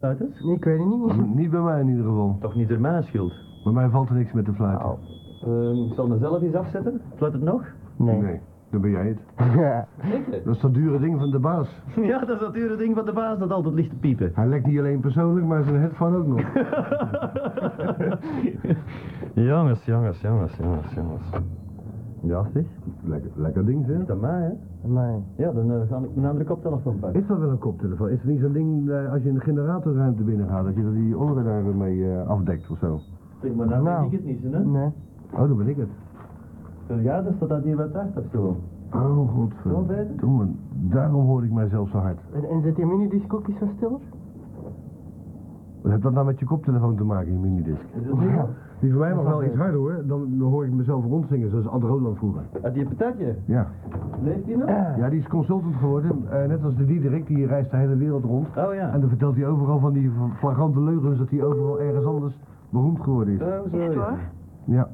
Buitens? Nee, ik weet het niet. Niet bij mij in ieder geval. Toch niet door mijn schuld? Bij mij valt er niks met de fluit. Nou, ehm, ik zal mezelf eens afzetten. Fluit het nog? Nee, dan ben jij het. Zeker. Dat is dat dure ding van de baas. Ja, dat is dat dure ding van de baas dat altijd ligt te piepen. Hij lekt niet alleen persoonlijk, maar zijn headphone ook nog. Jongens, jongens, jongens, jongens, jongens. Ja, zeg. lekker, lekker ding, zeg. Niet aan mij, hè? Amai. Ja, dan eh, ga ik mijn andere koptelefoon pakken. Is dat wel een koptelefoon? Is het niet zo'n ding eh, als je in de generatorruimte binnen gaat, dat je die oren daarmee eh, afdekt of zo? Zeg maar, nou, Nou. weet ik het niet, hè? Nee. Oh, dan ben ik het. Ja, dat staat dat hier wat achter zo. Oh, Wel beter? godverdomme. Daarom hoor ik mijzelf zo hard. En, en zet die minidisc ook iets van stiller? Wat heeft dat nou met je koptelefoon te maken, je minidisc? Is dat niet? Die voor mij mag Dat wel is iets wel harder hoor, dan, dan hoor ik mezelf rondzingen zoals Ad Roland vroeger. Had Ah, die patatje? Ja. Leeft die nog? Ja, die is consultant geworden, eh, net als de Diederik, die reist de hele wereld rond. Oh ja. En dan vertelt hij overal van die flagrante leugens dat hij overal ergens anders beroemd geworden is. Oh, zo. Echt ja. waar? Ja.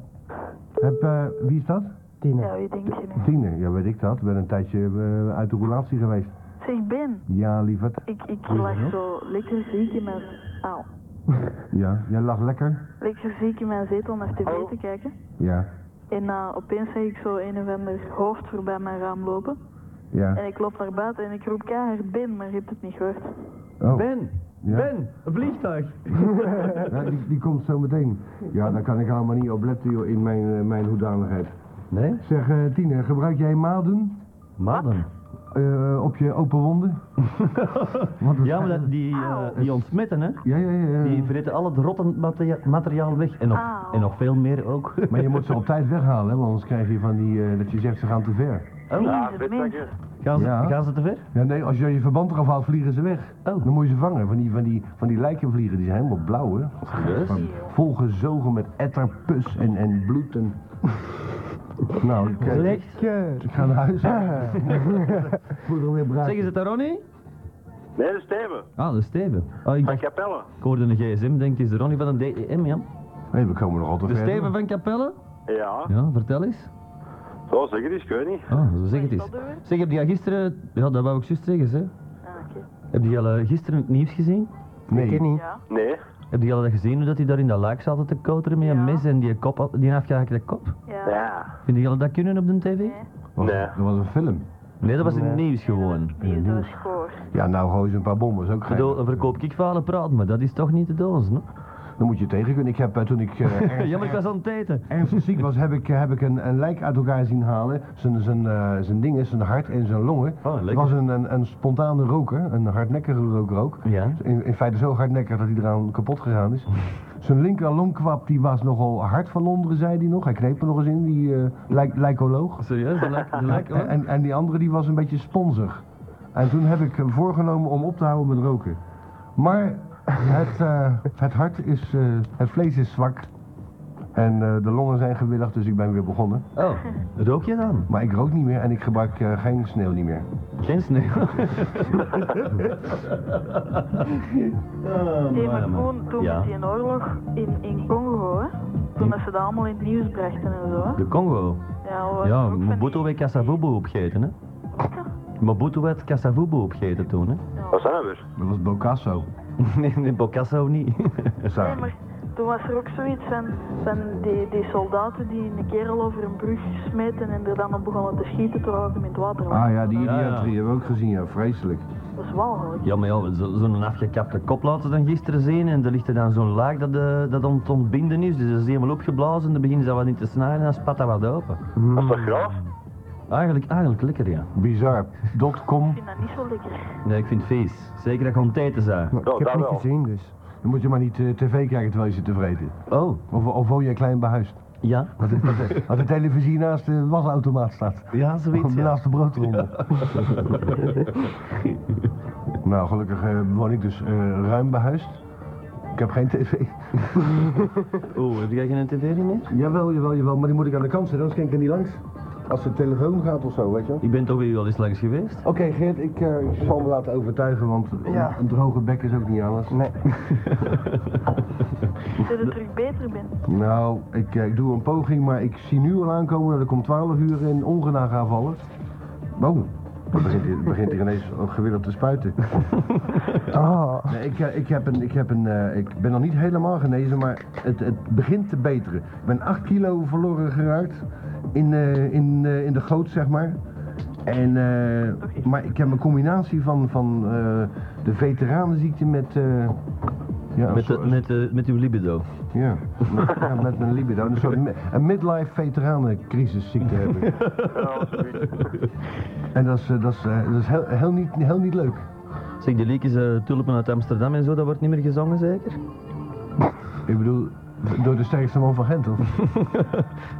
Heb, eh, wie is dat? Tina. Ja, wie denk je nu? Tine, ja weet ik dat. Ik ben een tijdje eh, uit de relatie geweest. Zeg, Ben, Ja, lieverd. ik, ik Hoe is het lag nog? zo lekker ziek in mijn... Au. Ja, jij lag lekker. Lekker ziek in mijn zetel naar tv te kijken. Ja, En eh, opeens zag ik zo een of ander hoofd voorbij mijn raam lopen. ja. En ik loop naar buiten en ik roep keihard Ben, maar je hebt het niet gehoord. Oh, Ben! Ja. Ben! Een vliegtuig! ja, die, die komt zo meteen. Ja, daar kan ik allemaal niet op letten joh, in mijn, eh, mijn hoedanigheid. Nee? Zeg eh, Tine, gebruik jij maden Madden. eh, op je open wonden? Want het- Ja, maar dat- die, eh, die ontsmetten, hè? Ja, ja, ja. ja. Die vreten al het rotten materia- materiaal weg. En nog, Auw. en nog veel meer ook. Maar je moet ze op tijd weghalen, hè, want anders krijg je van die, eh, dat je zegt ze gaan te ver. Oh, Jezus, mens. gaan, ze, Ja. gaan ze te ver? Ja, nee, als je je verband eraf haalt, vliegen ze weg. Oh. Dan moet je ze vangen. Van die, van die, van die lijkenvliegen, die zijn helemaal blauw, hè. Van volgezogen met etter, pus en, en bloed en... Nou, ik, eh, Lekker. ik ga naar huis. ik moet er weer Zeggen braken. ze het aan Ronnie? Nee, dat is Steven, Ah, dat is Steven. Ah, ik, van dacht, Capelle. ik hoorde een gsm, denk is de Ronnie van een E DEM, ja? Nee, we komen nog altijd De verder. Steven van Capelle? Ja, Ja, vertel eens. zo zeg het eens, ik weet niet. Ah, zo zeg het Wat is eens. dat dan weer? Zeg, heb jij gisteren... Ja, dat wou ik juist zeggen, hè. Ah, oké. Heb je al eh, gisteren het nieuws gezien? Ik Nee, ken niet. Ja. Nee, Heb je al dat gezien hoe dat die daar in dat luik zaten te koteren met een Ja. mes en die, kop, die afgehakte kop? Ja. ja. Vind je al dat kunnen op de tv? Nee, was- Nee. dat was een film. Nee, dat was in het nieuws gewoon. die is wel schoor. Ja, nou, gewoon eens een paar bommen, is ook Ik geen... bedoel, verkoop kikverhalen praten, maar dat is toch niet de doos, hè? Dan moet je tegen kunnen. Ik heb, eh, toen ik eh, erg- Ja, maar ik was aan het eten. ernstig ziek was, heb ik, eh, heb ik een, een lijk uit elkaar zien halen. Zijn, zijn, eh, zijn dingen, zijn hart en zijn longen. Oh, Het lekker. was een, een, een spontane roker, een hardnekkige roker ook. Ja. In, in feite zo hardnekkig dat hij eraan kapot gegaan is. Zijn linker longkwap die was nogal hard van onderen, zei hij nog. Hij kneep er nog eens in, die eh lijk, lijkoloog. Serieus, de lek, de lek, hoor. En, en die andere die was een beetje sponsig. En toen heb ik hem voorgenomen om op te houden met roken. Maar het, eh, het hart is, eh, het vlees is zwak. En eh, de longen zijn gewilligd, dus ik ben weer begonnen. Oh, rook je dan? Maar ik rook niet meer en ik gebruik eh, geen sneeuw niet meer. Geen sneeuw. Oh, Hey, maar man, man. gewoon toen Ja. Hm? met die oorlog in, in Congo, hè? Toen dat ze dat allemaal in het nieuws brachten en zo. hè. De Congo. Ja, we Ja, ook van die- Mobutu werd Kassavubu opgegeten, hè? Mobutu werd Kassavubu opgegeten toen, hè? wat zijn we weer? Dat was Bocasso. Nee, nee, Bocasso niet. Nee, maar toen was er ook zoiets van, van die, die soldaten die een kerel over een brug smeten en er dan op begonnen te schieten terwijl ze hem in het water lag. Ah ja, die Ja, ja. idioterie hebben we ook gezien, ja, vreselijk. Dat is walgelijk. Ja, maar ja, zo- zo'n afgekapte kop laten ze dan gisteren zien en er ligt er dan zo'n laag dat, eh, dat ont- ontbinden is. Dus dat is helemaal opgeblazen, dan beginnen ze dat wat in te snijden en dan spat dat wat open. Dat is toch graaf? Eigenlijk, eigenlijk lekker, ja. Bizar. Dotcom. Ik vind dat niet zo lekker. Nee, ik vind het vies. Zeker dat je onteten zijn. Maar Ja, ik heb daar niet wel. gezien, dus. Dan moet je maar niet eh, tv kijken terwijl je zit te vreten. Oh, Of, of woon je klein behuisd. ja. Dat, dat, dat de televisie naast de wasautomaat staat. Ja, zoiets, ja. Naast de broodronde. nou, gelukkig eh, woon ik dus eh, ruim behuisd. Ik heb geen tv. Oeh, heb jij geen tv niet meer? Jawel, jawel, jawel, maar die moet ik aan de kant zetten, anders kan ik er niet langs. Als de telefoon gaat of zo, weet je wel. Ik ben toch weer wel eens langs geweest. Oké Geert, ik, eh, ik zal me laten overtuigen, want Ja. een droge bek is ook niet alles. Nee. Dat het terug beter bent. Nou, ik, eh, ik doe een poging, maar ik zie nu al aankomen dat ik om 12 uur in ongedaan ga vallen. Boom. Dan begint hij, begint hij ineens gewillig te spuiten. Oh. Nee, ik, eh, ik, heb een, ik, heb een, eh, ik ben nog niet helemaal genezen, maar het, het begint te beteren. Ik ben 8 kilo verloren geraakt in, eh, in, eh, in de goot, zeg maar. En, eh, maar ik heb een combinatie van, van eh, de veteranenziekte met... eh, ja, een Met, de, soort- met, de, met uw libido. ja, met, ja, met mijn libido. Een, soort, mi- een midlife veteranencrisis-ziekte heb ik. Ja, zoiets. En dat is, eh, dat is, eh, dat is heel, heel, niet, heel niet leuk. Zeg, die liedjes eh, Tulpen uit Amsterdam en zo, dat wordt niet meer gezongen zeker? Ik bedoel, door de sterkste man van Gent, of?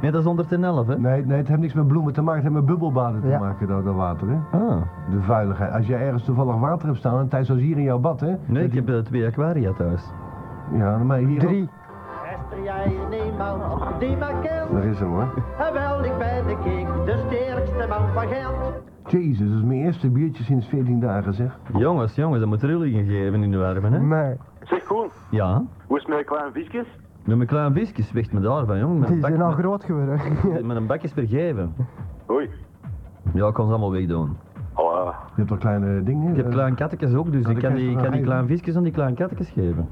Nee, dat is 111 hè? Nee, nee, het heeft niks met bloemen te maken, het heeft met bubbelbaden te Ja. maken, dat, dat water, hè? Ah. De vuiligheid. Als jij ergens toevallig water hebt staan, en tijd zoals hier in jouw bad, hè? Nee, ik heb eh, twee aquaria thuis. Ja, maar hier ook. Drie. Hester jij niemand die me kent? Daar is hem, hoor. En wel, ik ben de king, de sterkste man van Gent. Jezus, dat is mijn eerste biertje sinds 14 dagen, zeg. Jongens, jongens, dat moet rillingen geven in de warmen hè? Maar Zeg Koen, Ja. hoe is het met een klein visjes? Met mijn klein visjes weegt me daarvan, jongen. Met die een, zijn al bak, groot geworden. met, met een bakjes per geven. Oei. Ja, ik kan ze allemaal wegdoen. Oh, ja. Je hebt toch kleine dingen? Ik heb eh, klein kattekes ook, dus ik ik kan kan die, ze wel kan die geven. klein visjes aan die klein kattekes geven.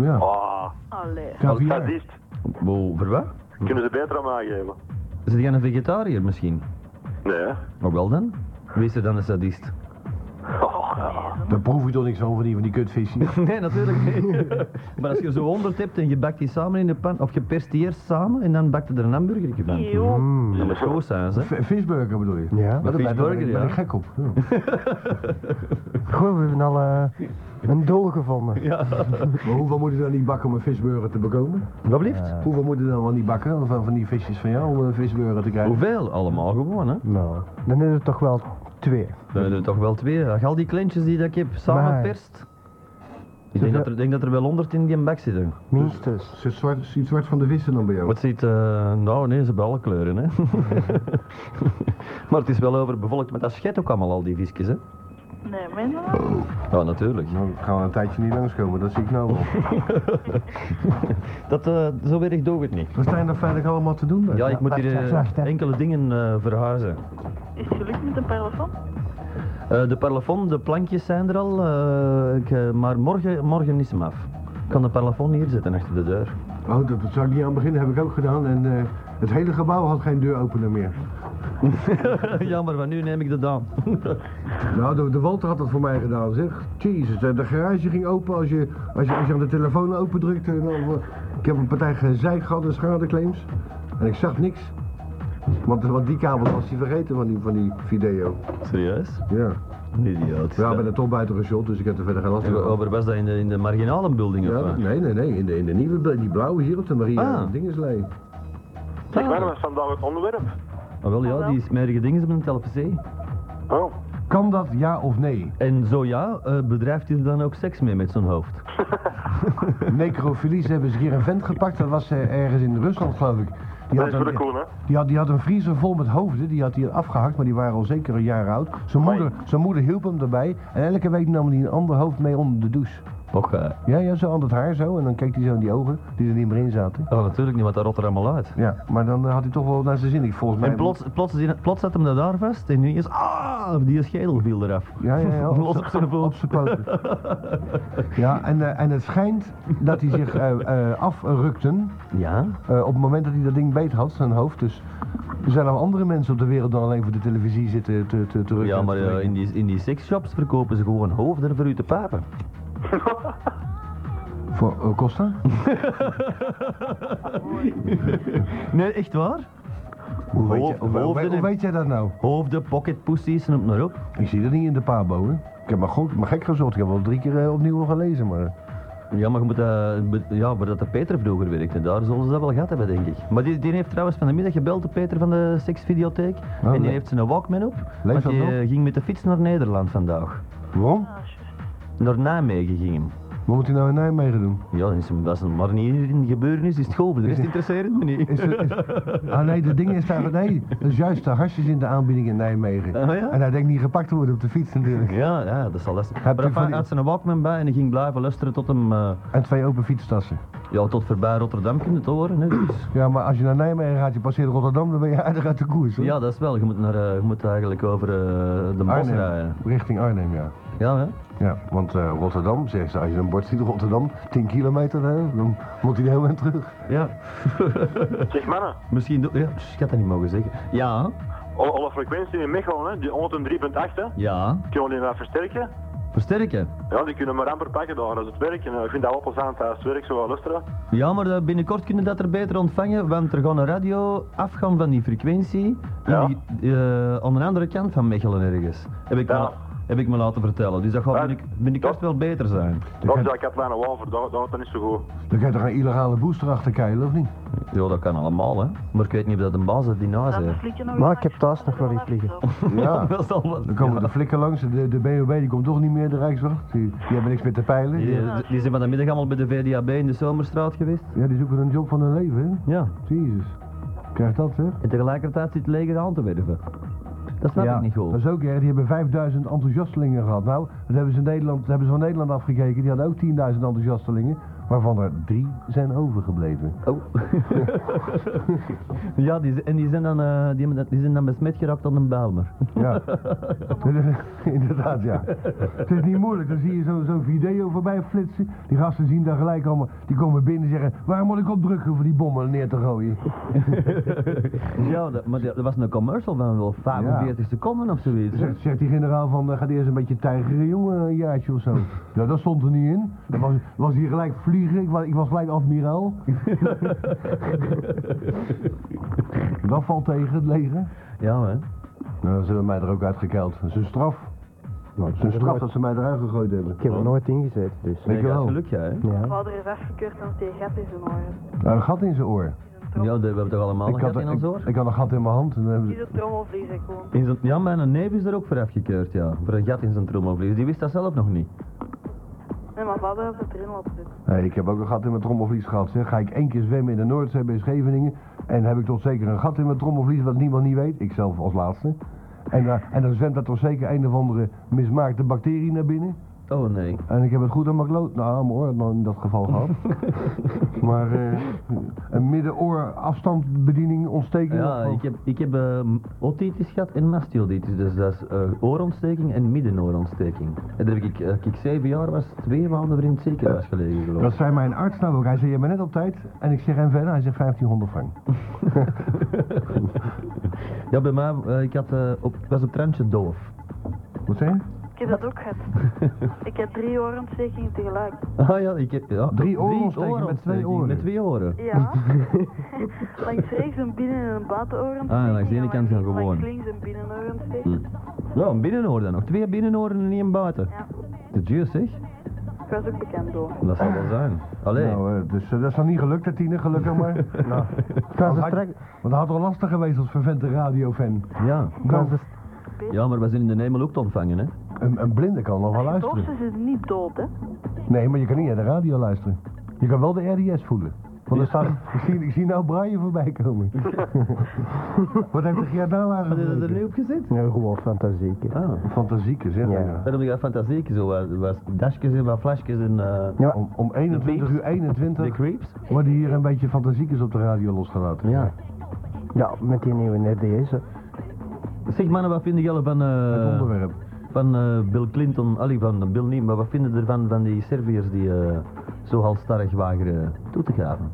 Ja. Ah, Allee. Caviar. sadist. Wow, voor wat? Kunnen ze beter aan mij geven? Zit jij een vegetariër misschien? Nee, hè? Nou wel dan? Wees er dan een sadist. Oh, ja. Daar proef je toch niks van, van die, van die kutvisie. Nee, natuurlijk niet. maar als je zo honderd hebt en je bakt die samen in de pan, of je perst die eerst samen en dan bakt je er een hamburgerje van. Eeuw. Mm. Dat moet goed zijn, hè? V- Visburger bedoel je? Ja. Maar daar ben- daar ben, ik- Visburger, ben ja. ik gek op. Ja. Goed, we hebben al eh, een doel gevonden. Maar hoeveel moet je dan niet bakken om een visburger te bekomen? Wat blieft? Hoeveel moet je dan wel niet bakken van, van die visjes van jou om een visburger te krijgen? Hoeveel? Allemaal gewoon, hè? Nou, dan is het toch wel twee. Dan hebben we toch wel twee. Ach, al die kleintjes die dat ik heb, samen Maar- perst. Ik denk dat, er, denk dat er wel honderd in die bak zitten. Minstens. Zit Dus- zwart, zit zwart van de vissen dan bij jou? Wat ziet, eh, nou nee, ze hebben alle kleuren, hè. maar het is wel overbevolkt, maar dat schet ook allemaal al die visjes, hè. Nee, meen je dat? Ja, natuurlijk. Nou, gaan we een tijdje niet langskomen, dat zie ik nou wel. Dat, eh, zo erg doe ik het niet. Wat zijn er feitelijk allemaal te doen? daar? Ja, ik moet wacht, hier wacht, eh, wacht, hè. enkele dingen eh, verhuizen. Is het gelukt met een parafon? Eh, de parlafon, de plankjes zijn er al, eh, ik, eh, maar morgen, morgen is hem af. Ik kan de parlafon hier zetten achter de deur. Oh, dat, dat zou ik niet aan beginnen, heb ik ook gedaan. En eh, het hele gebouw had geen deuropener meer. ja, maar van nu neem ik de aan. Nou, de, de Walter had dat voor mij gedaan, zeg. Jezus, de, de garage ging open als je, als je, als je aan de telefoon opendrukte. En dan, eh, ik heb een partij gezeik gehad in schadeclaims. En ik zag niks. Want, want die kabel was hij vergeten van die, van die video. Serieus? Ja. Idioot. Ja, ik ben er toch buiten geschot, dus ik heb er verder geen last En van. wa- waar was dat in de, in de marginale building Ja, of dat- wat? nee, nee, nee. In de, in de nieuwe, bl- die blauwe hier op de Maria Ah. Dingeslei. Zeg, maar was vandaag het onderwerp? Ah, wel ja, die smerige dingen hebben een televisie. Oh, Kan dat ja of nee? En zo ja, eh, bedrijft hij er dan ook seks mee met zijn hoofd? Necrofilie, ze hebben ze hier een vent gepakt, dat was eh, ergens in Rusland geloof ik. Die dat had, is voor de een, Koen, hè? die, had, die had een vriezer vol met hoofden, die had hij afgehakt, maar die waren al zeker een jaar oud. Zijn Amai. moeder, zijn moeder hielp hem daarbij en elke week nam hij een ander hoofd mee onder de douche. Och, eh, Ja, ja, zo aan het haar zo en dan keek hij zo in die ogen die er niet meer in zaten. oh, natuurlijk niet, want dat rot er allemaal uit. Ja, maar dan eh, had hij toch wel naar zijn zin, ik volgens mij. En plots, plots, plots zat hem dat daar vast en nu is, ah, die schedel viel eraf. Ja, ja, ja. Los op zijn Op poot. zijn poten. Ja, en, eh, en het schijnt dat hij zich eh, eh, afrukten Ja? Eh, op het moment dat hij dat ding beet had, zijn hoofd. Dus er zijn nog andere mensen op de wereld dan alleen voor de televisie zitten te, te, te rukken Ja, en te maar eh, trekken. in, die, in die seksshops verkopen ze gewoon hoofden voor u te papen. Voor eh, Costa? Nee, echt waar? Hoe weet, Hoofd- jij, hoe- hoe- hoofden hoe en- weet jij dat nou? Hoofden, pocketpussies, noem het maar op. Ik zie dat niet in de Pabo, hè? Ik heb maar, goed, maar gek gezocht. Ik heb wel drie keer eh, opnieuw gelezen, maar... Ja, maar je moet dat... be- Ja, waar dat de Peter vroeger werkte, daar zullen ze dat wel gehad hebben, denk ik. Maar die, die heeft trouwens van de middag gebeld, de Peter van de seksvideotheek. en die le- heeft zijn Walkman op. want dat die nog? eh, ging met de fiets naar Nederland vandaag. Waarom? Ah, juist. Naar Nijmegen ging hem. Wat moet hij nou in Nijmegen doen? Ja, dan is hem, als het maar niet hier in gebeuren is, is het dus. golven. De rest interesseert me niet. Is er- is- ah nee, de ding is daar, nee, dat is juist de hasjes in de aanbieding in Nijmegen. Oh ja? En hij denkt niet gepakt te worden op de fiets natuurlijk. Ja, ja, dat is al lastig. Heb Maar je enfin, van hij die- had zijn Walkman bij en hij ging blijven luisteren tot hem, eh, En twee open fietstassen. ja, tot voorbij Rotterdam kunnen te horen. Hè, dus. Ja, maar als je naar Nijmegen gaat, je passeert Rotterdam, dan ben je aardig uit de koers. Hoor. Ja, dat is wel. Je moet, naar, eh, je moet eigenlijk over eh, de bos Arnhem. rijden. Richting Arnhem, ja. Ja, hè? Ja, want eh, Rotterdam, zeggen ze, als je een bord ziet, Rotterdam, 10 kilometer, hè, dan moet hij de hele weg terug. Ja. Zeg mannen, Misschien... do- Ja, pff, ik had dat niet mogen zeggen. Ja, alle, alle frequenties in Mechelen, hè, die 103.8, hè, ja. kunnen we die maar versterken? Versterken. Ja, die kunnen maar amper pakken daar als het werk. En, eh, ik vind dat wel plezant als het werk zo wel luisteren. Ja, maar eh, binnenkort kunnen we dat er beter ontvangen, want er gaat een radio afgaan van die frequentie in Ja. die, eh, aan de andere kant van Mechelen ergens. Heb ik, Ja. me, heb ik me laten vertellen. Dus dat gaat Ja. binnenkort, binnenkort wel beter zijn. Of dat ik heb wel over, dat dat is niet zo goed. Dan kan je toch een illegale booster achter keilen, of niet? Ja, dat kan allemaal, hè. Maar ik weet niet of dat een baas dat die naast Dan heeft. flikken nog Maar eens ik heb langs. thuis nog wel die vliegen. Ja. dat is al wat. Dan komen Ja. de flikken langs, de, de BOB die komt toch niet meer, de Rijkswacht. Die, die hebben niks meer te peilen. Die, Die- die- die zijn van de middag allemaal bij de VDAB in de Zomerstraat geweest. Ja, die zoeken een job van hun leven, hè? Ja. Jezus. Krijg dat, hè? En tegelijkertijd zit het leger aan te werven. Dat snap ik niet Dat goed. is ook erg. Die hebben 5000 enthousiastelingen gehad. Nou, dat hebben ze, in Nederland, dat hebben ze van Nederland afgekeken. Die hadden ook 10.000 enthousiastelingen. Waarvan er drie zijn overgebleven. Oh. ja, die, en die zijn, dan, eh, die, hebben- die zijn dan besmet geraakt aan een Bijlmer. Ja. Inderdaad, ja. Het is niet moeilijk. Dan zie je zo- zo'n video voorbij flitsen. Die gasten zien daar gelijk allemaal. Die komen binnen en zeggen... Waarom moet ik op drukken voor die bommen neer te gooien? Ja, dat, maar dat was een commercial van wel 45 seconden of zoiets. hè? Zegt, zegt die generaal van, eh, gaat eerst een beetje tijgeren, jongen, een jaartje of zo. Ja, dat stond er niet in. Dan was, was hier gelijk vliegen, ik was, ik was gelijk admiraal. dat valt tegen het leger. Ja, hè. Nou, ze hebben mij er ook uitgekeild. Dat is een straf. Dat Nou, is een straf dat ze mij eruit gegooid hebben. Ik heb er nooit ingezeten, dus. Nee, Ik wel. dat is geluk, jij, hè. Mijn Ja. vader is afgekeurd omdat hij een gat in zijn oren. Nou, een gat in zijn oor. Ja, dat- we hebben toch allemaal een gat in ons oor? ik, ik had een gat in mijn hand. En dan hebben Die ze- is een trommelvlies, hè, gewoon. In zijn, ja, mijn neef is er ook voor afgekeurd, ja. Voor een gat in zijn trommelvlies. Die wist dat zelf nog niet. Nee, mijn vader had het erin laten zitten. Nee, ik heb ook een gat in mijn trommelvlies gehad. Zeg. Ga ik één keer zwemmen in de Noordzee bij Scheveningen. En heb ik toch zeker een gat in mijn trommelvlies wat niemand niet weet. Ikzelf als laatste. En, eh, en dan zwemt daar toch zeker een of andere mismaakte bacterie naar binnen. Oh, nee. En ik heb het goed aan mijn kloot. Nou, mijn oor had nog in dat geval gehad. maar eh, een middenoor afstandsbediening ontsteking. Ja, of- ik heb, ik heb eh, otitis gehad en mastioditis. Dus dat is eh, oorontsteking en middenoorontsteking. En daar heb ik, eh, toen ik zeven jaar was, twee maanden voor in het ziekenhuis gelegen, geloof Dat ik. zei mijn arts nou ook. Hij zei, je bent net op tijd. En ik zeg, en verder? Hij zegt, 1500 frank. Ja, bij mij, eh, ik had, eh, op, ik was op het randje doof. Wat zei je? Ik heb dat ook gehad. ik had drie oorontstekingen tegelijk. Ah ja, ik heb, ja. Drie oorontstekingen met oorontstekingen, twee oren. Met twee oren. Ja. langs rechts een binnen- en een buitenooronsteking. Ah, langs de ene en kant langs- dan gewoon. Hm. Langs links een binnenoorontsteking. Ja, een binnenoor dan nog. Twee binnenoren en één buiten. Ja. De juice, zeg. Ik was ook bekend door. Dat zal wel zijn. Allee. Nou, eh, dus eh, dat is nog niet gelukt, hè, Tine, gelukkig maar. nou, Kan want, ze had, straks- want dat had wel lastig geweest als vervente radiofan. Nou, ja. kan ze- ja, maar we zijn in de hemel ook te ontvangen, hè. Een, een blinde kan nog wel Doof luisteren. is het niet dood, hè? Nee, maar je kan niet naar de radio luisteren. Je kan wel de RDS voelen. Want er staat, ik, zie, ik zie nou Brian voorbij komen. Wat heeft de Gerard nou Had je dat er eigenlijk? nu op gezet? Ja, gewoon fantasieker. Ah. Fantasieke, zeg. Ja. Ja. Daarom heb ik dat fantasie zo, wat, wat dasjes en wat flesjes en eh, Om, om De 21 beat. uur 21 de creeps. worden hier een beetje fantasiekes op de radio losgelaten. Ja. Ja, met die nieuwe RDS. hè. Zeg mannen, wat vinden jullie van, Het eh onderwerp. van eh, Bill Clinton, allee van Bill niet, maar wat vinden jullie ervan van die Serviërs die eh, zo halstarrig weigeren toe te graven?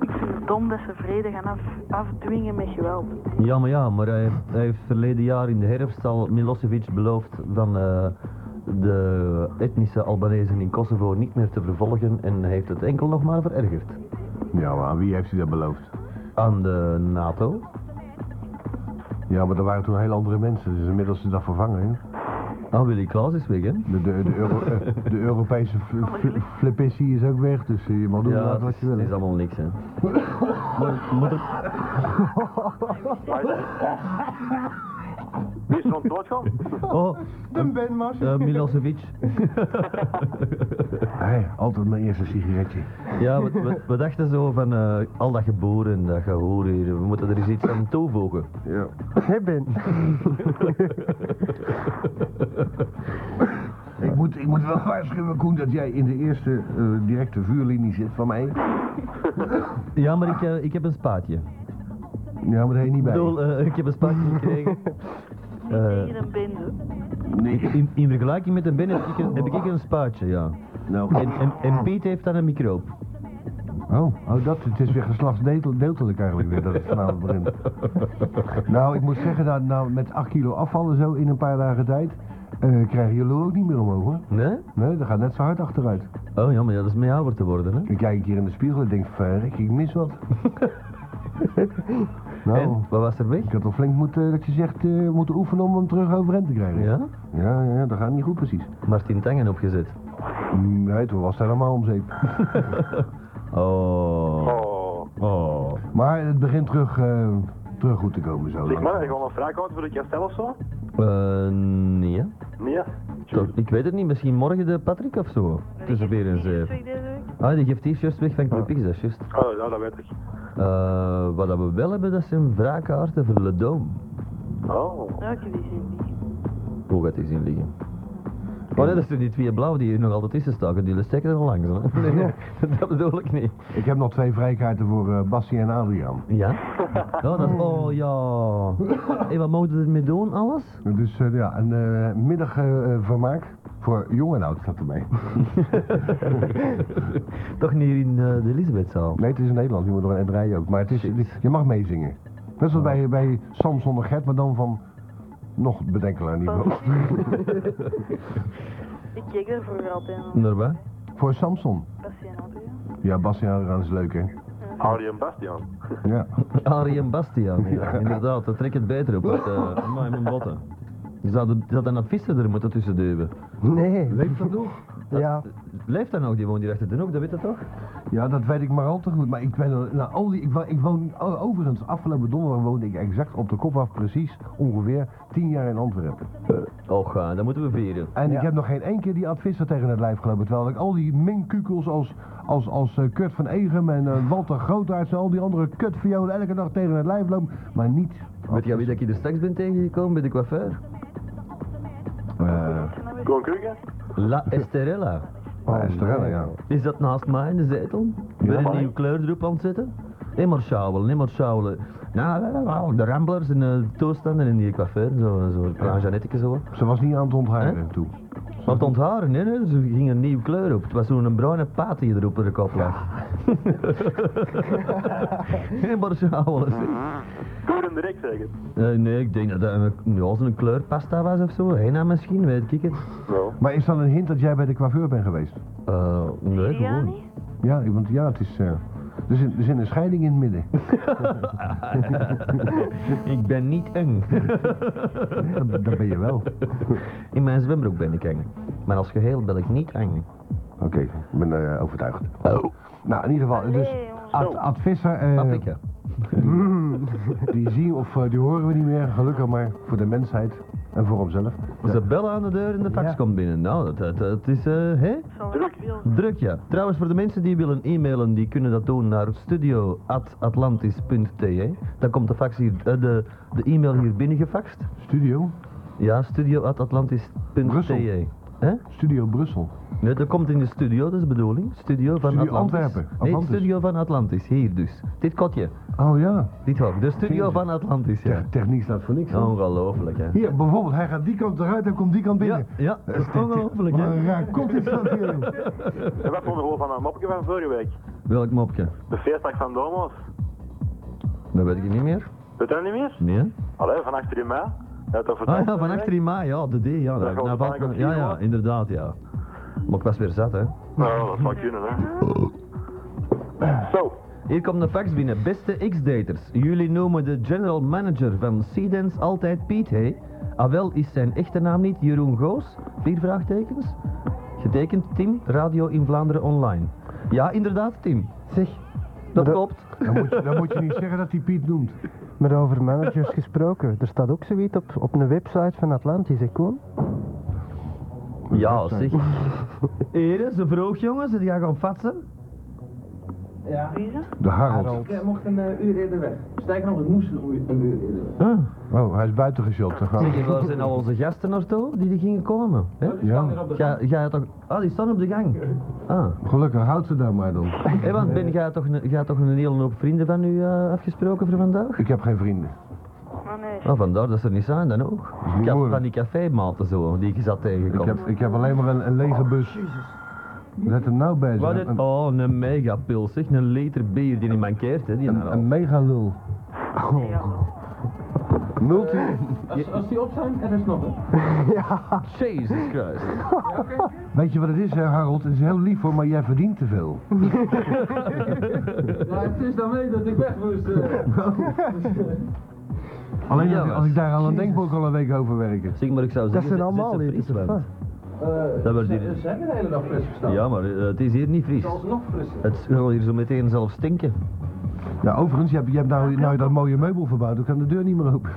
Ik vind het dom dat ze vrede gaan af, afdwingen met geweld. Ja, maar ja, maar hij, heeft- hij heeft verleden jaar in de herfst al Milosevic beloofd van eh, de etnische Albanezen in Kosovo niet meer te vervolgen en heeft het enkel nog maar verergerd. Ja, maar aan wie heeft hij dat beloofd? Aan de NATO? Ja, maar er waren toen heel andere mensen. Dus inmiddels is dat vervangen. hè. Ah, Willy Klaas is weg, hè? De, de, de, Euro, eh, de Europese fl- fl- flippissie is ook weg, dus je mag doen laten het wat is, je het is wil. allemaal niks, hè. maar, maar er- Wie is er aan het doodgaan? Oh, Een benmars. eh, Milosevic. Hij hè, altijd mijn eerste sigaretje. Ja, we, we, we dachten zo van eh, al dat geboren en dat gehoor hier, we moeten er eens iets aan toevoegen. Ja. Hé Ben, Ik moet, ik moet wel waarschuwen, Koen, dat jij in de eerste eh, directe vuurlinie zit van mij. Ja, maar ik, eh, ik heb een spaatje. Ja, maar daar heen niet Ik bij. bedoel, eh, ik heb een spaatje gekregen. Niet Eh. tegen een benzo. Nee. In, in vergelijking met een Ben heb ik een, heb ik een spaatje, ja. Nou, En, en, en Piet heeft dan een microop. Oh, oh dat, het is weer geslachtsdeeltelijk eigenlijk weer dat het vanavond begint. nou, ik moet zeggen dat nou, met 8 kilo afvallen zo in een paar dagen tijd, eh, krijgen jullie ook niet meer omhoog hoor. Nee? Nee, dat gaat net zo hard achteruit. Oh ja, maar ja, dat is mee ouder te worden, hè. Dan kijk ik hier in de spiegel en denk, verrek, ik mis wat. nou, En, wat was er weg? ik had al flink moeten, dat je zegt, eh, moeten oefenen om hem terug overeind te krijgen. Ja? Ja, ja, dat gaat niet goed precies. Mm, Martin Tangen opgezet. Nee, toen was het helemaal om zeep. Oh. Oh. Oh. Maar het begint terug, eh, terug goed te komen zo. Zeg maar, heb je gewoon een wraakauto voor het kastel of zo? Eh, nee. hè. Nee. Toch, Ik weet het niet, misschien morgen de Patrick of zo. Tussen weer en zeven. Ah, die geeft t-shirts weg van Ah. Club X, dat is juist. Oh, ja, dat weet ik. Eh, wat dat we wel hebben, dat zijn wraakkaarten voor Le Dome. Ja, Oh. Nou, ik heb die zin niet. Hoe gaat die zien liggen? Oh nee, dat zijn die twee blauw die hier nog altijd tussen staken, die steken er al langs. Hè? Nee, nee, dat bedoel ik niet. Ik heb nog twee vrijkaarten voor eh Bassie en Adriaan. Ja? Oh, dat, oh ja. Hey, wat mogen we ermee doen, alles? Dus eh, ja, een eh middagvermaak voor jong en oud staat erbij. Toch niet hier in eh, de Elisabethzaal? Nee, het is in Nederland, je moet nog een rij ook. Maar het is, je mag meezingen. Net zoals bij, bij Samson en Gert, maar dan van nog bedenkelaar Oh. niveau. Ik kijk er voor altijd aan. Naar wat? voor Samson. Passie en Adriaan. Ja, Bassie en Adriaan is leuk, hè? Arie en Bastiaan. Ja. Arie en Bastiaan, ja, inderdaad, dat trekt het beter op. Want, eh, amai, mijn botten. Je zou, de- je zou een advisser er moeten tussen duwen. nee. Leeft dat nog? Ja, Leeft dat nog, die woont hier achter de hoek, dat weet je toch? Ja, dat weet ik maar al te goed. Maar ik ben er- nou, al die, ik, wo- ik woon o- overigens, afgelopen donderdag woonde ik exact op de kop af, precies ongeveer 10 jaar in Antwerpen. Och, eh, dat moeten we vieren. En ik heb nog geen één keer die advisser tegen het lijf gelopen. Terwijl ik al die minkukels als, als, als eh, Kurt van Egem en eh, Walter Grootaerts en al die andere kutviolen elke dag tegen het lijf loop. Maar niet. Weet jij wie dat ik er straks ben tegengekomen bij de coiffeur? eh, Koen Kruger? La Esterella. oh, Estrella, ja. Is dat naast mij in de zetel? Met een maar- nieuwe kleur erop aan het zetten? Immer sjouwelen, immer sjouwelen. Nou, wel, wel, wel, de ramblers en eh, de toestanden en die coiffeur, zo, zo, een Jeannette zo. Ze was niet aan het ontharen toe. Want ontharen, hè, hè, ze ging een nieuwe kleur op. Het was zo'n bruine paat die erop op de kop lag. immer sjouwelen. zeg. Koen en direct zeker? Eh, nee, ik denk dat dat een, ja, zo'n kleurpasta was of zo. Henna misschien, weet ik het. Nou. Maar is dan een hint dat jij bij de coiffeur bent geweest? Eh, nee, Zie je dat gewoon. niet? Ja, want ja, het is. eh, er, zit, er zit een scheiding in het midden. Ik ben niet eng. dat, dat ben je wel. In mijn zwembroek ben ik eng. Maar als geheel ben ik niet eng. Oké, ik ben eh, overtuigd. Oh. Nou, in ieder geval, dus Allee, jongens. Ad, Ad Visser, eh, Paprika. Hmm. die zien of eh, die horen we niet meer, gelukkig maar voor de mensheid en voor hemzelf. Ze bellen aan de deur en de fax Ja. komt binnen. Nou, dat, dat, dat is, eh, hè? Zal wel veel zijn. Druk, ja. Trouwens, voor de mensen die willen e-mailen, die kunnen dat doen naar studio.atlantis.te. Dan komt de fax hier, eh, de, de e-mail hier binnen gefaxt. Studio, Ja, Brussel. studio.atlantis.te. Hè? Studio Brussel. Nee, dat komt in de studio, dat is de bedoeling. Studio van Studio Atlantis. Antwerpen, Nee, Atlantis. studio van Atlantis, hier dus. Dit kotje, Oh ja, dit hok. De studio Jezus. van Atlantis, ja. Oh. Te- techniek staat voor niks. hè? Ongelooflijk, hè. Hier, bijvoorbeeld, hij gaat die kant eruit en komt die kant Ja, binnen. ja, dat is ongelooflijk, Wat hè. een raar kop is dat hier. joh. En wat vonden we van een mopje van vorige week? Welk mopje? De feestdag van Domo's. Dat weet ik niet meer. Weet je dat niet meer? Nee, hè? Allee, van achter in mei. Ja, toch Ah ja, van 18 mei, ja, de D, ja. Dat Dat, gaat nou, wel valt me- pijnlijk ja, op ja, hier, inderdaad, ja. Maar ik was weer zat, hè. Nou, dat zou kunnen, hè. Zo. Hier komt de fax binnen. Beste X-daters, jullie noemen de general manager van Seedance altijd Piet, hé? Ah wel, is zijn echte naam niet Jeroen Goos? Vier vraagtekens. Getekend Tim, Radio in Vlaanderen Online. Ja, inderdaad, Tim. Zeg, dat Dat- klopt. Dan moet, je, dan moet je niet zeggen dat hij Piet noemt. maar over managers gesproken. Er staat ook zoiets op, op een website van Atlantis, hè Koen? Ja, Ja, zeg. Ere, ze vroeg jongens, en die gaan gaan fatsen. Ja. Wie is het? De Harold. Ik eh, mocht een eh, uur eerder weg. Sterker nog, ik moest een uur, een uur eerder weg. Oh, hij is buiten geshopt. Dan gaan we- Zeg, waar zijn al onze gasten naartoe die er gingen komen? Hè? Die staan hier op de Ga, ga je toch... Ah, die staan op de gang. Ah. Gelukkig, houd ze daar maar dan. Hé, want Ben, ga je toch, een- ga je toch een hele hoop vrienden van u eh, afgesproken voor vandaag? Ik heb geen vrienden. Oh nee. Ah, vandaar dat ze er niet zijn dan ook. is niet Ik had moeilijk. van die cafématen zo, die ik zat Ik tegengekomen. heb, ik heb alleen maar een, een lege bus. Let hem nou bij. Oh, Wat zeg. het? Een, Oh, een megapil, zeg. Een liter bier die niet mankeert, hè, die nou. een, Harold. een mega lul. nee, ja. Multi. Als, als die op zijn, er is nog een. Ah, Jesus Christ. Weet je wat het is, hè, Harold? Het is heel lief hoor, maar jij verdient te veel. Ja, Nou, het is daarmee dat ik weg moest. eh. Alleen Ja, als, ik- als ik daar al aan denk, moet ik al een week over werken. Zeg maar, ik zou zeggen, Dat zijn zit- zit allemaal er liters. fris bij. of wat? Eh, Dat wordt ze, hier- ze hebben de hele dag fris gestaan. Ja, maar eh, het is hier niet fris. Het is alsnog frisser. Het zal hier zo meteen zelf stinken. Ja, overigens, je hebt, je hebt nou, nou je dat mooie meubel verbouwd, dan kan de deur niet meer open.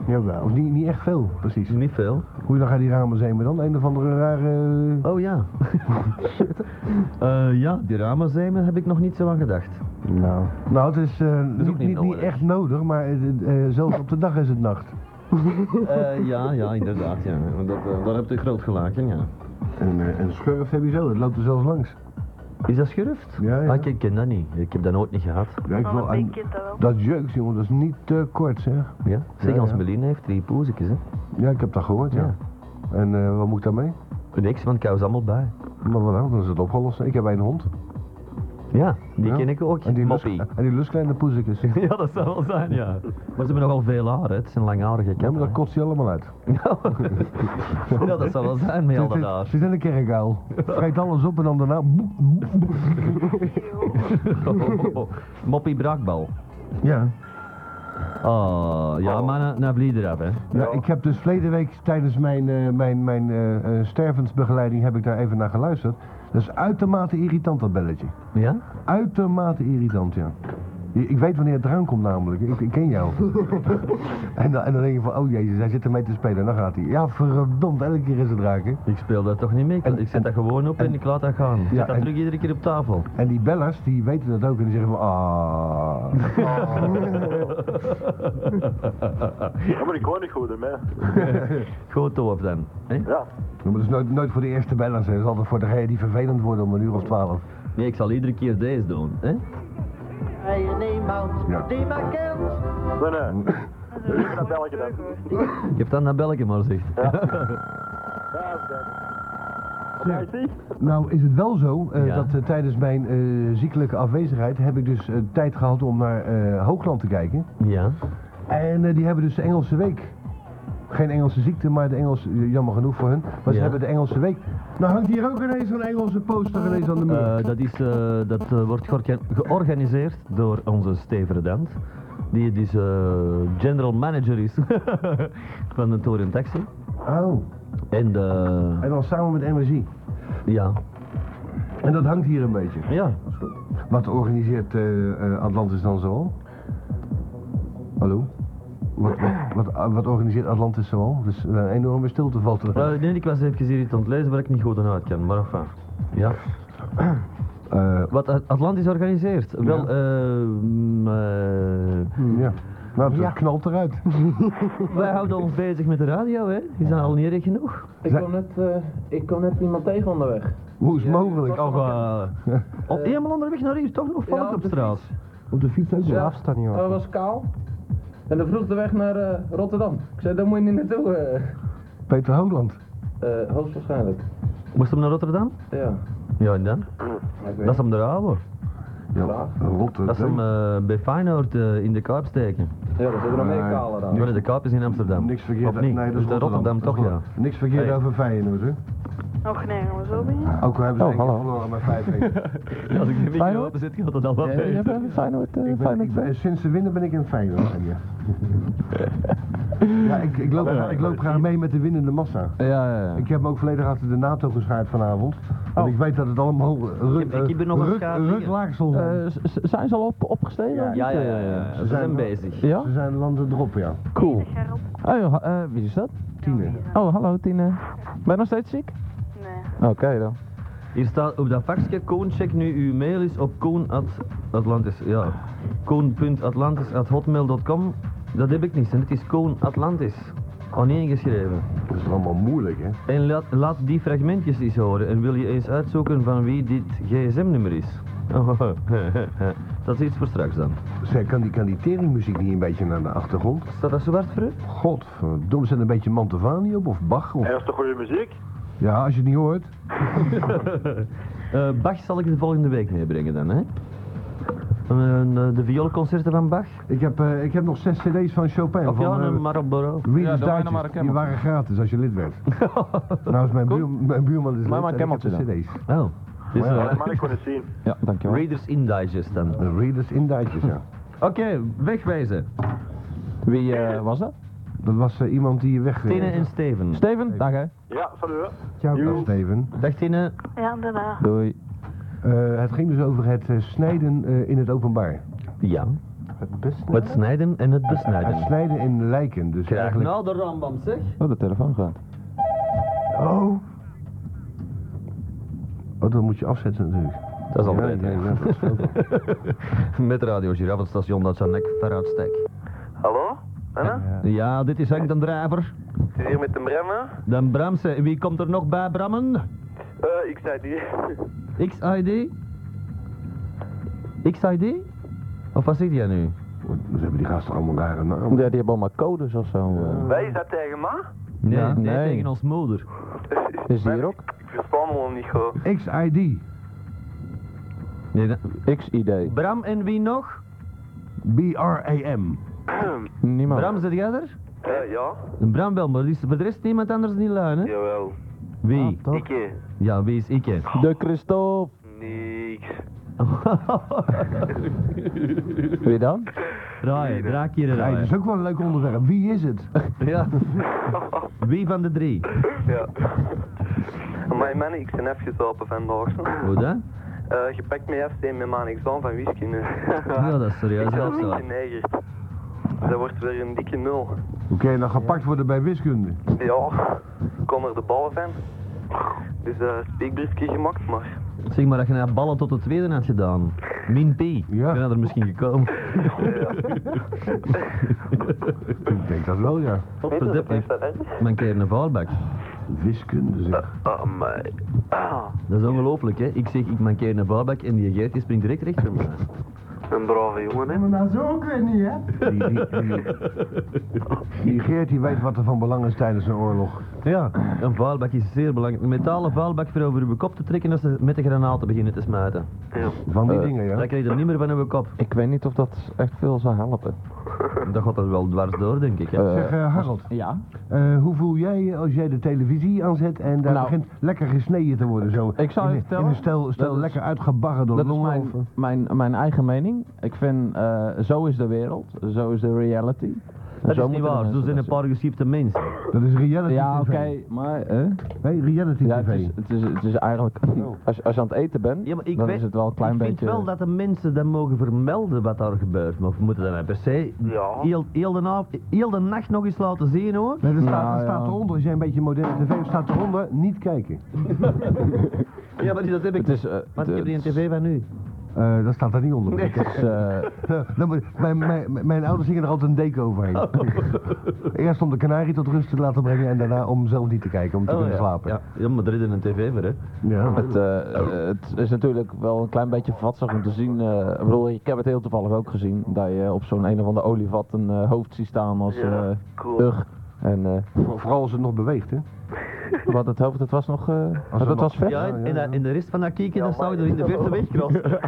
Of Jawel. niet, niet echt veel, precies. Niet veel. Hoe dan gaan die ramen zijn we dan? Een of andere rare... Oh ja. Eh, ja, die ramenzijmen heb ik nog niet zo aan gedacht. Nou. Nou, het is, eh, ook niet, niet niet, niet nodig. echt nodig, maar eh, eh, zelfs op de dag is het nacht. Eh, ja, ja, inderdaad. Ja. Dat, eh, daar heb je groot gelijk in, ja. En, eh, en schurf heb je zo, het loopt er zelfs langs. Is dat schurft? Ja, ja. Ah, ik ken dat niet. Ik heb dat nooit niet gehad. Ja, ik wil Wel aan- een kind dat wel. Dat jeuks, jongen, dat is niet te kort, zeg. Ja? Zeg, Ja, als ja. Meline heeft drie poezekjes, hè. Ja, ik heb dat gehoord, ja. Ja. En eh, wat moet ik daarmee? Niks, want ik hou ze allemaal bij. Maar wat dan? Dan is het opgelost. Ik heb één hond. Ja, die Ja. ken ik ook. En die, lust, Moppie. en die lustkleine poezekjes. Ja, Ja, dat zou wel zijn, ja. Maar ze hebben nogal veel haar, hè. Het zijn langharige maar katten. dat kotst hij allemaal uit. hè. Ja, dat zou wel zijn met al Zit, dat zit, haar. zit in een kerkuil. Vreet alles op en dan daarna... boep, boep. Oh, Moppie braakbal. Ja. Oh, ja, maar na, na vlieg eraf, hè. ja. Ik heb dus verleden week tijdens mijn, eh, mijn, mijn eh, eh, stervensbegeleiding heb ik daar even naar geluisterd. Dat is uitermate irritant, dat belletje. Ja? Uitermate irritant, ja. Je- Ik weet wanneer het eraan komt namelijk. Ik, ik ken jou. en, dan, en dan denk je van, oh jezus, hij zit ermee te spelen. En dan gaat hij. Ja, verdomd, elke keer is het raken. Ik speel dat toch niet mee? Ik- ik En- zet en- dat gewoon op en, en- ik laat dat gaan. Ik Ja, zet dat en- terug iedere keer op tafel. En die bellers, die weten dat ook. En die zeggen van, ah. Ja, maar ik hoor niet goed ermee. Goed op dan. hè? Ja. Maar dat is nooit, nooit voor de eerste bellers. hè. Dat is altijd voor degenen die vervelend worden om een uur of twaalf. Nee, ik zal iedere keer deze doen. Hè? Hij is niemand Ja. die me kent. Nee, nee. Mm. Ik eh, dat belletje dan. Je hebt dan dat belletje maar zegt. Ja, dat is dat. Wat is die? Nou is het wel zo eh, Ja. dat eh, tijdens mijn eh, ziekelijke afwezigheid heb ik dus eh, tijd gehad om naar eh, Hoogland te kijken. Ja. En eh, die hebben dus de Engelse week. Geen Engelse ziekte, maar de Engelse, jammer genoeg voor hun. Maar ze Ja. hebben de Engelse week. Nou hangt hier ook ineens zo'n Engelse poster ineens aan de muur. Eh, dat is, eh, dat eh, wordt georga- georganiseerd door onze Stevere Dent. Die dus eh, general manager is van de Toren Taxi. oh, En eh, en dan samen met energie. ja. En dat hangt hier een beetje. Ja. Wat organiseert eh, eh, Atlantis dan zoal? Hallo? Wat, wat, wat, eh, wat organiseert Atlantis zoal? Dus eh, een enorme stilte valt er. Eh, nee, ik was even hier iets aan het lezen waar ik niet goed aan uit kan, maar enfin. Ja. Eh, Wat At- Atlantis organiseert? Wel, eh, mm, eh, ja. Nou, het knalt eruit. wij houden ons bezig met de radio, hè? Is dat al niet erg genoeg? Ik kwam net, eh, ik kwam net iemand tegen onderweg. Hoe is het Ja, mogelijk? dat- Och, eh, op, helemaal onderweg naar hier, toch nog Ja, vallend op op de straat. Op de fiets ook Ja. Afstand niet Oh, Hij hoor. was kaal. En dan vroeg de weg naar eh, Rotterdam. Ik zei, daar moet je niet naartoe. eh Peter Hoogland. Eh, hoogstwaarschijnlijk. Moest hem naar Rotterdam? Ja. Ja, en dan? Maar ik weet Dat is hem de oude. Ja. Rotterdam. Dat is hem eh, bij Feyenoord eh, in de Kaap steken. niet. Ja, er zitten nog meer Nee. kalen aan. Nu de Kaap is in Amsterdam. Niks verkeerd. Of niet? Dus Nee, dat is de Rotterdam, Dat is toch, ja. wel- Niks verkeerd Hey. over Feyenoord, hè? Nog nee, maar zo ben je. Ook al hebben ze Oh, één keer hallo. verloren met 5 Ja, Als ik de micro Feyenoord? open zit, gaat dat al wat mee. Feyenoord, eh, ik ben, ik ben, sinds ze winnen ben ik in Feyenoord. Ja, ja ik, ik, loop, graag- ik loop graag mee met de winnende massa. Ja, ja, Oh. ja. Ik heb me ook volledig achter de NATO geschaard vanavond. Want ik weet dat het allemaal ruk, Ik heb- ik heb er nog een ruk, schaar liggen. ruklaaksel Eh, s- s- zijn ze al op, opgestegen? Ja, Ja, ja, ja, ja. Ze zijn zijn- bezig. Ja? Ze zijn landen erop, ja. Cool. Gerald. Oh, joh, ha- eh, wie is dat? Tine. Oh, hallo Tine. Ben je nog steeds ziek? Nee. Oké dan. Hier staat op dat faxje, Koen, check nu uw mail is op koen.atlantis, ja, koen.atlantis.hotmail.com. Dat heb ik niet, en het is Oh, koen.atlantis, aaneengeschreven. Dat is allemaal moeilijk, hè? En laat, laat die fragmentjes eens horen en wil je eens uitzoeken van wie dit gsm-nummer is. Oh, dat is iets voor straks dan. Zij kan die, kan die teringmuziek niet een beetje naar de achtergrond? Staat dat zo hard voor u? Godverdomme, zet een beetje Mantovani op of Bach? Of... En dat is toch goede muziek? Ja, als je het niet hoort. Eh, Bach zal ik de volgende week meebrengen dan, hè? Eh, de vioolconcerten van Bach. Ik heb, eh, ik heb nog zes cd's van Chopin. Of van, ja, eh, een Marlboro. Ja, Readers dan maar Digest, naar maar een die Camel. waren gratis als je lid werd. nou is mijn, buur, mijn buurman is lid maar een en ik heb Cameltje de dan. cd's. Oh. Dit is Ja, wel- dat mag ik gewoon eens zien. Ja, dankjewel. Readers in Digest dan. De Readers in Digest, ja. Oké, wegwijzen. Wie eh, was dat? Dat was eh, iemand die weg... eh, Tine en Steven. Steven? Dag hè. Ja, salut. Ciao, dag, Steven. Dag Tine. Ja, en daarna. Doei. Eh, het ging dus over het eh, snijden eh, in het openbaar. Ja. Het besnijden? Het snijden en het Het besnijden. snijden in lijken, dus Krijg eigenlijk... nou de Rambam zeg. Oh, de telefoon gaat. Oh! Oh, dat moet je afzetten natuurlijk. Dat is al Ja, beter. ja, ja, dat scheelt wel. Met Radio Giraffe, het station dat zijn nek veruit steekt. Hallo? Anna? Ja, dit is Henk den Drijver. Ik zit hier met de Brenna. Den Bramse. En Wie komt er nog bij, Brammen? Eh, ik zei die. XID? XID? Of wat zit jij nu? Ze hebben die gasten allemaal rare Ja, namen. die hebben allemaal codes of zo. eh. Wij is dat tegen ma? Nee, Ja. nee, Nee. tegen ons moeder. Is die hier ook? Ik verstaan me wel niet goed. XID. Nee, dat- XID. Bram en wie nog? B-R-A-M. Niemand. Bram, zit jij er? Eh, ja? Bram wel, maar er is voor de rest niemand anders niet luin, hè? Jawel. Wie? Toch? Ik eh, Ja, wie is Ikke? De Christophe. niks. Wie dan? Raaien, draak hier Hey, dat raaien. is ook wel een leuk onderwerp. Wie is het? Ja. Wie van de drie? Ja. Mijn mannen, ik ben afgezopen vandaag. Hoe dan? Eh, je pakt mij afsteen met mijn examen van wiskunde. Ja, dat is serieus, Ik ben dat is niet wel. geneigerd. Dat wordt weer een dikke nul. Hoe kan je nou gepakt worden bij wiskunde? Ja, ik kom er de bal van. Dus eh, speakbriefje gemaakt, maar. Zeg maar dat je naar ballen tot de tweede had gedaan. Min P. Ja. Ben je er misschien gekomen? Ik denk dat wel, ja. Weet je, Verdippen. is dat erg? Mijn keer een vuilbak. Wiskunde, zeg. Oh, my. Ah, Dat is ongelooflijk, hè? Ik zeg, ik mankeer een vuilbak en die geert die springt direct rechter me. een brave jongen, hè? Maar dat is ook weer niet, hè? Die, die, die, die Geert die weet wat er van belang is tijdens een oorlog. Ja, een vuilbak is zeer belangrijk. Een metalen vuilbak voor over uw kop te trekken als ze met de granaten beginnen te smijten. Ja. Van die Eh, dingen, ja. Dan krijg je er niet meer van uw kop. Ik weet niet of dat echt veel zou helpen. Dat gaat er wel dwars door, denk ik. Hè? Eh, Zeg, eh, Harold, ja. eh, hoe voel jij je als jij de televisie aanzet en daar Nou. begint lekker gesneden te worden? Zo. Ik zou je in, een- in vertellen, een stel, stel dat is- lekker uitgebarren door Dat is longen mijn, of- mijn, mijn eigen mening. Ik vind, eh, zo is de wereld. Zo is de reality. dat zo is niet moeten de waar, zo mensen zijn een dat paar geschiepte mensen. Dat is reality zien. Ja, TV. oké, maar... eh? Hey, reality Ja, het TV. is, het is, het is eigenlijk... Als, als je aan het eten bent, Ja, maar ik dan weet- is het wel een klein ik beetje... vind wel dat de mensen dan mogen vermelden wat daar gebeurt. Maar we moeten dat nou per se Ja. heel, heel, de nav- heel de nacht nog eens laten zien, hoor. Nee, dat staat, Nou, dat staat ja. eronder. Als jij een beetje moderne tv hebt, staat eronder, niet kijken. Ja, maar dat heb ik. Het is... eh, Maar ik heb die een het- tv van nu. Eh, dat staat er niet onder. het is, eh, Dan moet- mijn, nou, mijn, mijn ouders gingen er altijd een deken overheen. Eerst om de kanarie tot rust te laten brengen en daarna om zelf niet te kijken, om te kunnen Oh, ja. slapen. Ja. ja, maar er is een tv voor, hè. Ja. Het, eh, het is natuurlijk wel een klein beetje vatsig om te zien. eh, ik bedoel, ik heb het heel toevallig ook gezien. Dat je op zo'n een of andere olievat een eh, hoofd ziet staan als eh Ja, cool. ug. En eh, Voor- Vooral als het nog beweegt, hè? wat het hoofd, het was nog... eh Als het er was vet? Ja, ja, en, en, ja. dat- en de rest van dat kieken, Ja, dan zou je maar- er in de verte wegkrassen.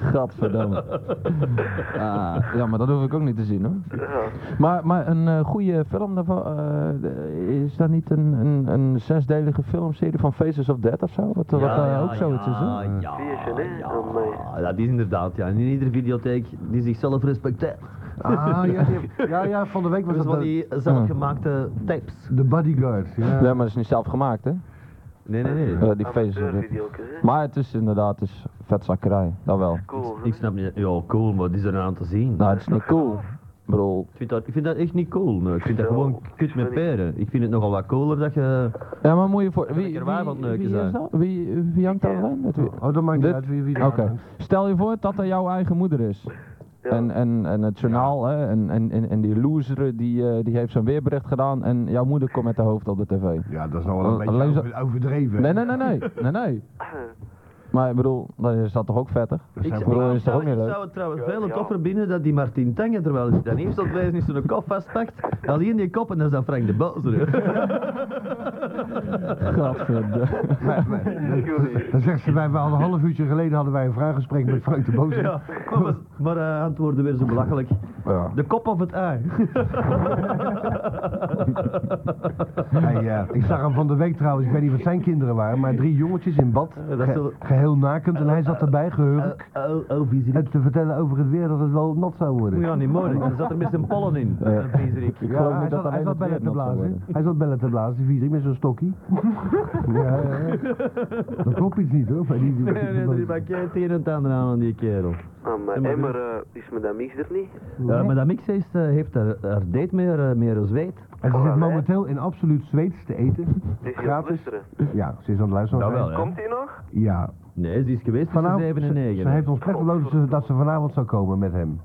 Gadverdamme. Ah, ja, maar dat hoef ik ook niet te zien hoor. Ja. Maar, maar een eh, goede film daarvan, eh, is dat niet een, een, een zesdelige filmserie van Faces of Death of zo? Wat, wat eh, ook zoiets is hè? Ja, ja, Zie je, hè? Oh, my. ja, dat is inderdaad, ja. En in iedere videotheek die zichzelf respecteert. Ah, ja, die- ja, ja, van de week was Dat is dat van de, die zelfgemaakte tapes. de bodyguard. Ja. Nee, maar dat is niet zelf gemaakt hè? Nee, nee, nee. Eh, die Faces of Death. Amateurvideo's, hè? Maar het is inderdaad het is vetzakkerij, dat wel. Cool, hè? Ik snap niet. Ja, cool, maar die is er aan te zien. Nou, het is niet cool. bedoel... Ik vind dat, ik vind dat echt niet cool. nee. Ik vind dat Zo, gewoon kut met peren. Ik moet je het nogal wat cooler dat je... Ja, maar moet je voor... Wie, Lekker waar wat neuken wie, zijn. is dat? wie, wie hangt daar aan? Met wie- Oh, dat maakt Dit? niet uit wie, wie Oké. daar hangt. Stel je voor dat dat jouw eigen moeder is. En, en, en het journaal, hè, en, en, en, en die loser die, eh, die heeft zo'n weerbericht gedaan en jouw moeder komt met haar hoofd op de tv. Ja, dat is nou wel een Alleen beetje zo- over- overdreven. Nee, nee, nee, nee, nee, nee. Maar ik bedoel, dan is dat toch ook vettig? Ik, zou- bedoel, ik is dat ook zou, niet ik leuk? zou het trouwens veel toffer binnen dat die Martin Tange, terwijl hij dan eerst op wijzen is zijn kop vastpakt, dan in die kop en dan is dat Frank de Bozer. hè. Gadverdamme. Maar- maar- Dan zegt ze, wij hadden een half uurtje geleden hadden wij een vraaggesprek met Frank de Bozer. Ja, kom eens. maar eh, antwoorden weer zo belachelijk. Ja. De kop of het ei? Hij, eh, ik zag hem van de week trouwens, ik weet niet wat zijn kinderen waren, maar drie jongetjes in bad, dat ge- zullen- geheel nakend en hij zat erbij gehurkt. Oh, oh, viezerik. En te vertellen over het weer dat het wel nat zou worden. Ja, niet moeilijk. Er zat er met zijn pollen in. eh, Viezerik. Ik Ja, geloof hij niet dat zat, hij dat alleen zat het bellen weer te nat zou blazen. worden. Hij zat bellen te blazen, die viezerik met zo'n stokkie. ja, ja, ja. Dat klopt iets niet hoor. bij die, die- Nee, nee, er is maar kei het een en het ander aan aan die kerel. Ah, maar maar- Emmer is met dat mix er niet. Ja, maar dat mix heeft, eh, heeft haar, haar date meer, eh, meer als weet. En ze zit momenteel in absoluut Zweeds te eten. Is hij aan het Gratis. luisteren? Ja, ze is aan het luisteren. Dat wel, hè? Komt hij nog? Ja. Nee, ze is geweest tussen 7 en ze, 9. ze heeft ons plek beloofd dat ze- dat ze vanavond zou komen met hem.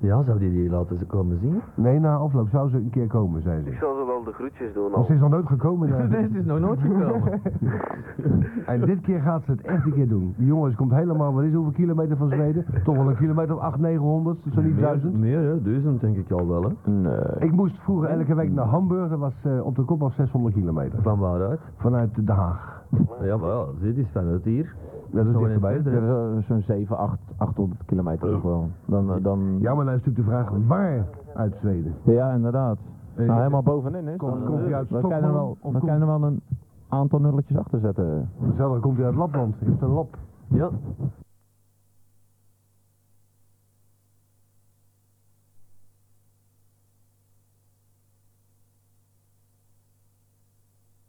Ja, zou die die laten ze komen zien? Nee, na afloop zou ze een keer komen, zei Ik ze. zal zo wel de groetjes doen Maar al. ze is nog nooit gekomen. daar. Nee, ze is nog nooit gekomen. En dit keer gaat ze het echt een keer doen. Die jongens komt helemaal, wat is het, hoeveel kilometer van Zweden? Toch wel een kilometer of 800, 900, zo niet duizend. Meer, hè? Duizend denk ik al wel, hè? Nee. Ik moest vroeger elke week naar Hamburg, dat was eh, op de kop af 600 kilometer. Van waaruit? Vanuit Den Haag. Ja, maar ja, dit is vanuit hier. Dat is Zo in het dichterbij. verder. Dat is, eh, Zo'n 7, 8, 800 kilometer ook wel. Dan, eh, dan, Ja, maar dan is natuurlijk de vraag waar uit Zweden. ja, inderdaad. Eh, nou, helemaal bovenin is. Komt- dan, komt hij uit dan kan je er Stockholm wel, of dan kan je er wel een aantal nulletjes achter zetten. Zelf komt hij uit Lapland, is het een lap. Ja.